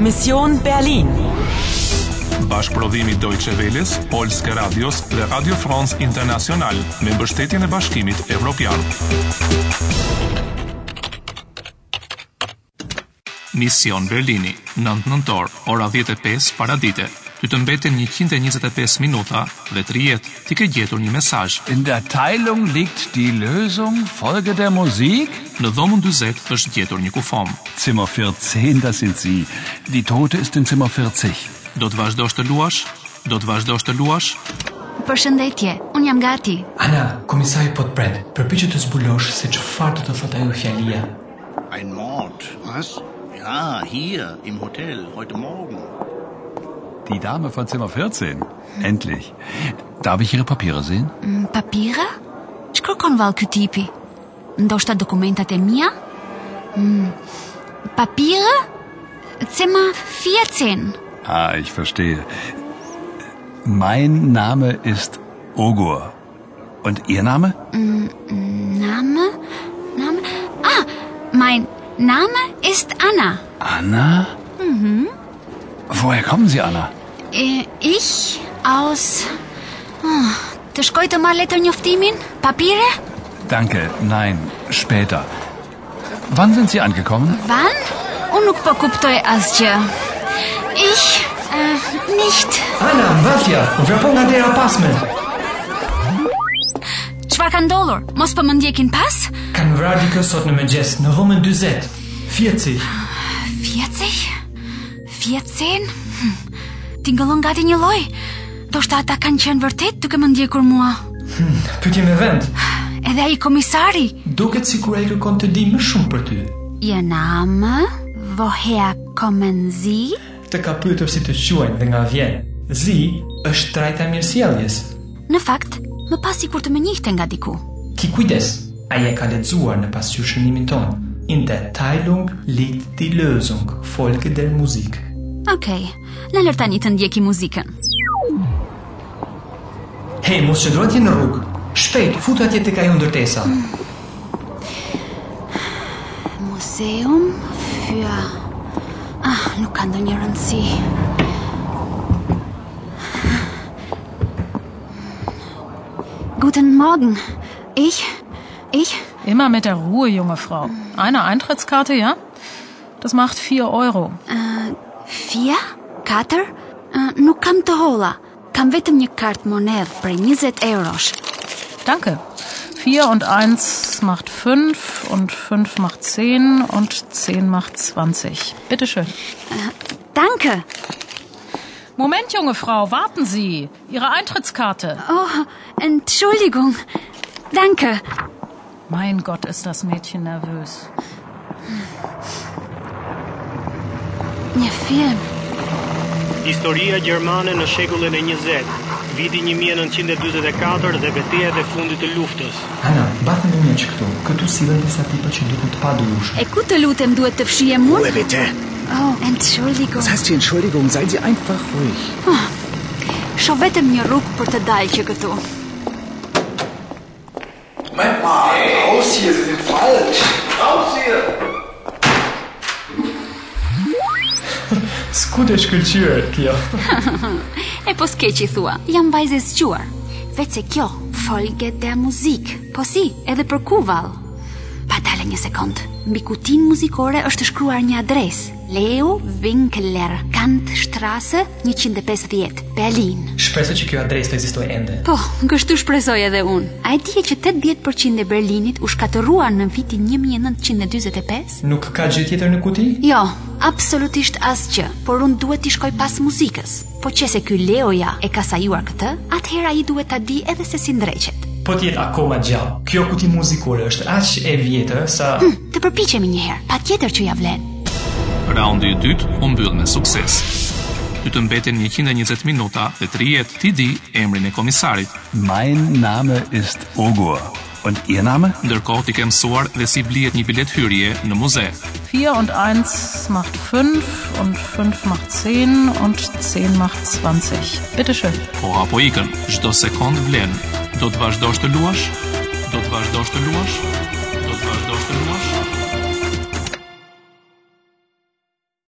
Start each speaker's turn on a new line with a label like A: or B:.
A: Mission Berlin.
B: Bashkëprodhimi Deutsche Welles, Polske Radios dhe Radio France International me mbështetjen e Bashkimit Evropian. Mision Berlini, 9 nëntor, ora 10:05 para dite. Ty të mbeten 125 minuta dhe 3 jetë ti ke gjetur një mesazh.
C: In der Teilung liegt die Lösung. Folge der Musik.
B: Në dhomën 40 është gjetur një kufom.
C: Zimmer 14, das sind Sie. Die Tote ist in Zimmer 40.
B: Do të vazhdosh të luash? Do të vazhdosh të luash?
D: Përshëndetje, unë jam gati.
E: Ana, komisari po të pret. Përpiqu të zbulosh se çfarë do të thotë ajo fjalia.
F: Ein Mord. Was? Ja, hier im Hotel, heute Morgen.
C: Die Dame von Zimmer 14. Endlich. Darf ich Ihre Papiere sehen?
D: Mm, Papira? Ç'kërkon vallë ky tipi? Ndoshta dokumentat e mia? Mm, Papire? Zimmer 14.
C: Ah, ich verstehe. Mein Name ist Ogur. Und Ihr Name?
D: Name? Name? Ah, mein Name ist Anna.
C: Anna? Mhm. Woher kommen Sie, Anna?
D: E, Ich aus... Ah, Të shkoj të marr letër njoftimin? Papire?
C: Danke, nein, später. Wann sind Sie angekommen?
D: Van? Unë nuk po kuptoj asgjë. Ich... Uh, nicht...
E: Ana, mbathja, u vrapo nga dera pasme.
D: Çfarë ka ndodhur? Mos po më ndjekin pas?
E: Kan vrarë dikë sot në mëngjes në vëmën 40. 40.
D: 40? 40? Hm. Tingëllon gati një lloj. Do shta ata kanë qenë vërtet duke më ndjekur mua.
E: Pyetje me vend.
D: Edhe ai komisari.
E: Duket sikur ai kërkon të di më shumë për ty.
D: Je Name, woher kommen Sie?
E: Të ka pyetur si të quajnë dhe nga vjen. Zi është trajta e mirësjelljes.
D: Në fakt, më pas sikur të më njihte nga diku.
E: Ki kujdes, ai e ka lexuar në pasqyrshënimin ton. In der Teilung liegt die Lösung, Folge der Musik.
D: Okej, na lër tani të ndjeki muzikën.
E: Hej, mos qëndro atje në rrugë. Shpejt, futu atje tek ajo ndërtesa.
D: Museum für... Ah, nuk ka ndonjë rëndësi. Guten Morgen. Ich, ich,
G: Immer mit der Ruhe, junge Frau. Eine Eintrittskarte, ja? Das macht 4 Euro.
D: Fia? Katër? Ë, Nuk kam të holla. Kam vetëm një kartë monedh për 20 eurosh.
G: Danke. 4 und 1 macht 5 und 5 macht 10 und 10 macht 20. Bitte schön.
D: Danke.
G: Moment, junge Frau, warten Sie. Ihre Eintrittskarte.
D: Oh, entschuldigung. Danke.
G: Mein Gott, ist das Mädchen nervös.
D: Një film.
H: Historia gjermane në shekullin e 20, viti 1944 dhe betejat e fundit të luftës.
E: Ana, mbath në një që këtu. Këtu sillen disa tipa që duken të padurueshëm.
D: E ku të lutem duhet të fshihem unë?
I: bitte.
D: Oh, entschuldigung.
I: Was heißt die Entschuldigung? Seien Sie einfach ruhig.
D: Shoh vetëm një rrugë për të dalë që këtu.
I: Moment mal. Raus hier, Sie sind falsch. Raus hier.
E: S'ku të shkëlqyer kjo.
D: E po skeqi thua, jam vajzë e zgjuar. Vetë se kjo, folge dhe muzik. Po si, edhe për ku val? Pa dalë një sekund. Mbi kutin muzikore është shkruar një adres. Leo Winkler, Kantstrasse 150, Berlin.
E: Shpresoj që kjo adresë të ekzistojë ende.
D: Po, kështu shpresoj edhe unë. A e dije që 80% e Berlinit u shkatërruan në vitin 1945?
E: Nuk ka gjë tjetër në kuti?
D: Jo, absolutisht asgjë, por unë duhet t'i shkoj pas muzikës. Po që se ky Leoja e ka sajuar këtë, atëherë ai duhet ta di edhe se si ndreqet.
E: Po tjetë akoma gjallë. Kjo kuti muzikore është aq e vjetër sa...
D: Të përpiqemi një herë, patjetër që ja vlen.
B: Raundi i dytë u mbyll me sukses. Ty të mbeten 120 minuta dhe 3 jetë ti di emrin e komisarit.
C: Mein Name ist Ogur. Und Ihr Name?
B: Ndërkohë ti ke mësuar dhe si blihet një bilet hyrje në muze.
G: 4 und 1 macht 5 und 5 macht 10 und 10 macht 20. Bitte schön.
B: Po apo ikën, çdo sekond vlen. Do të vazhdosh të luash? Do të vazhdosh të luash?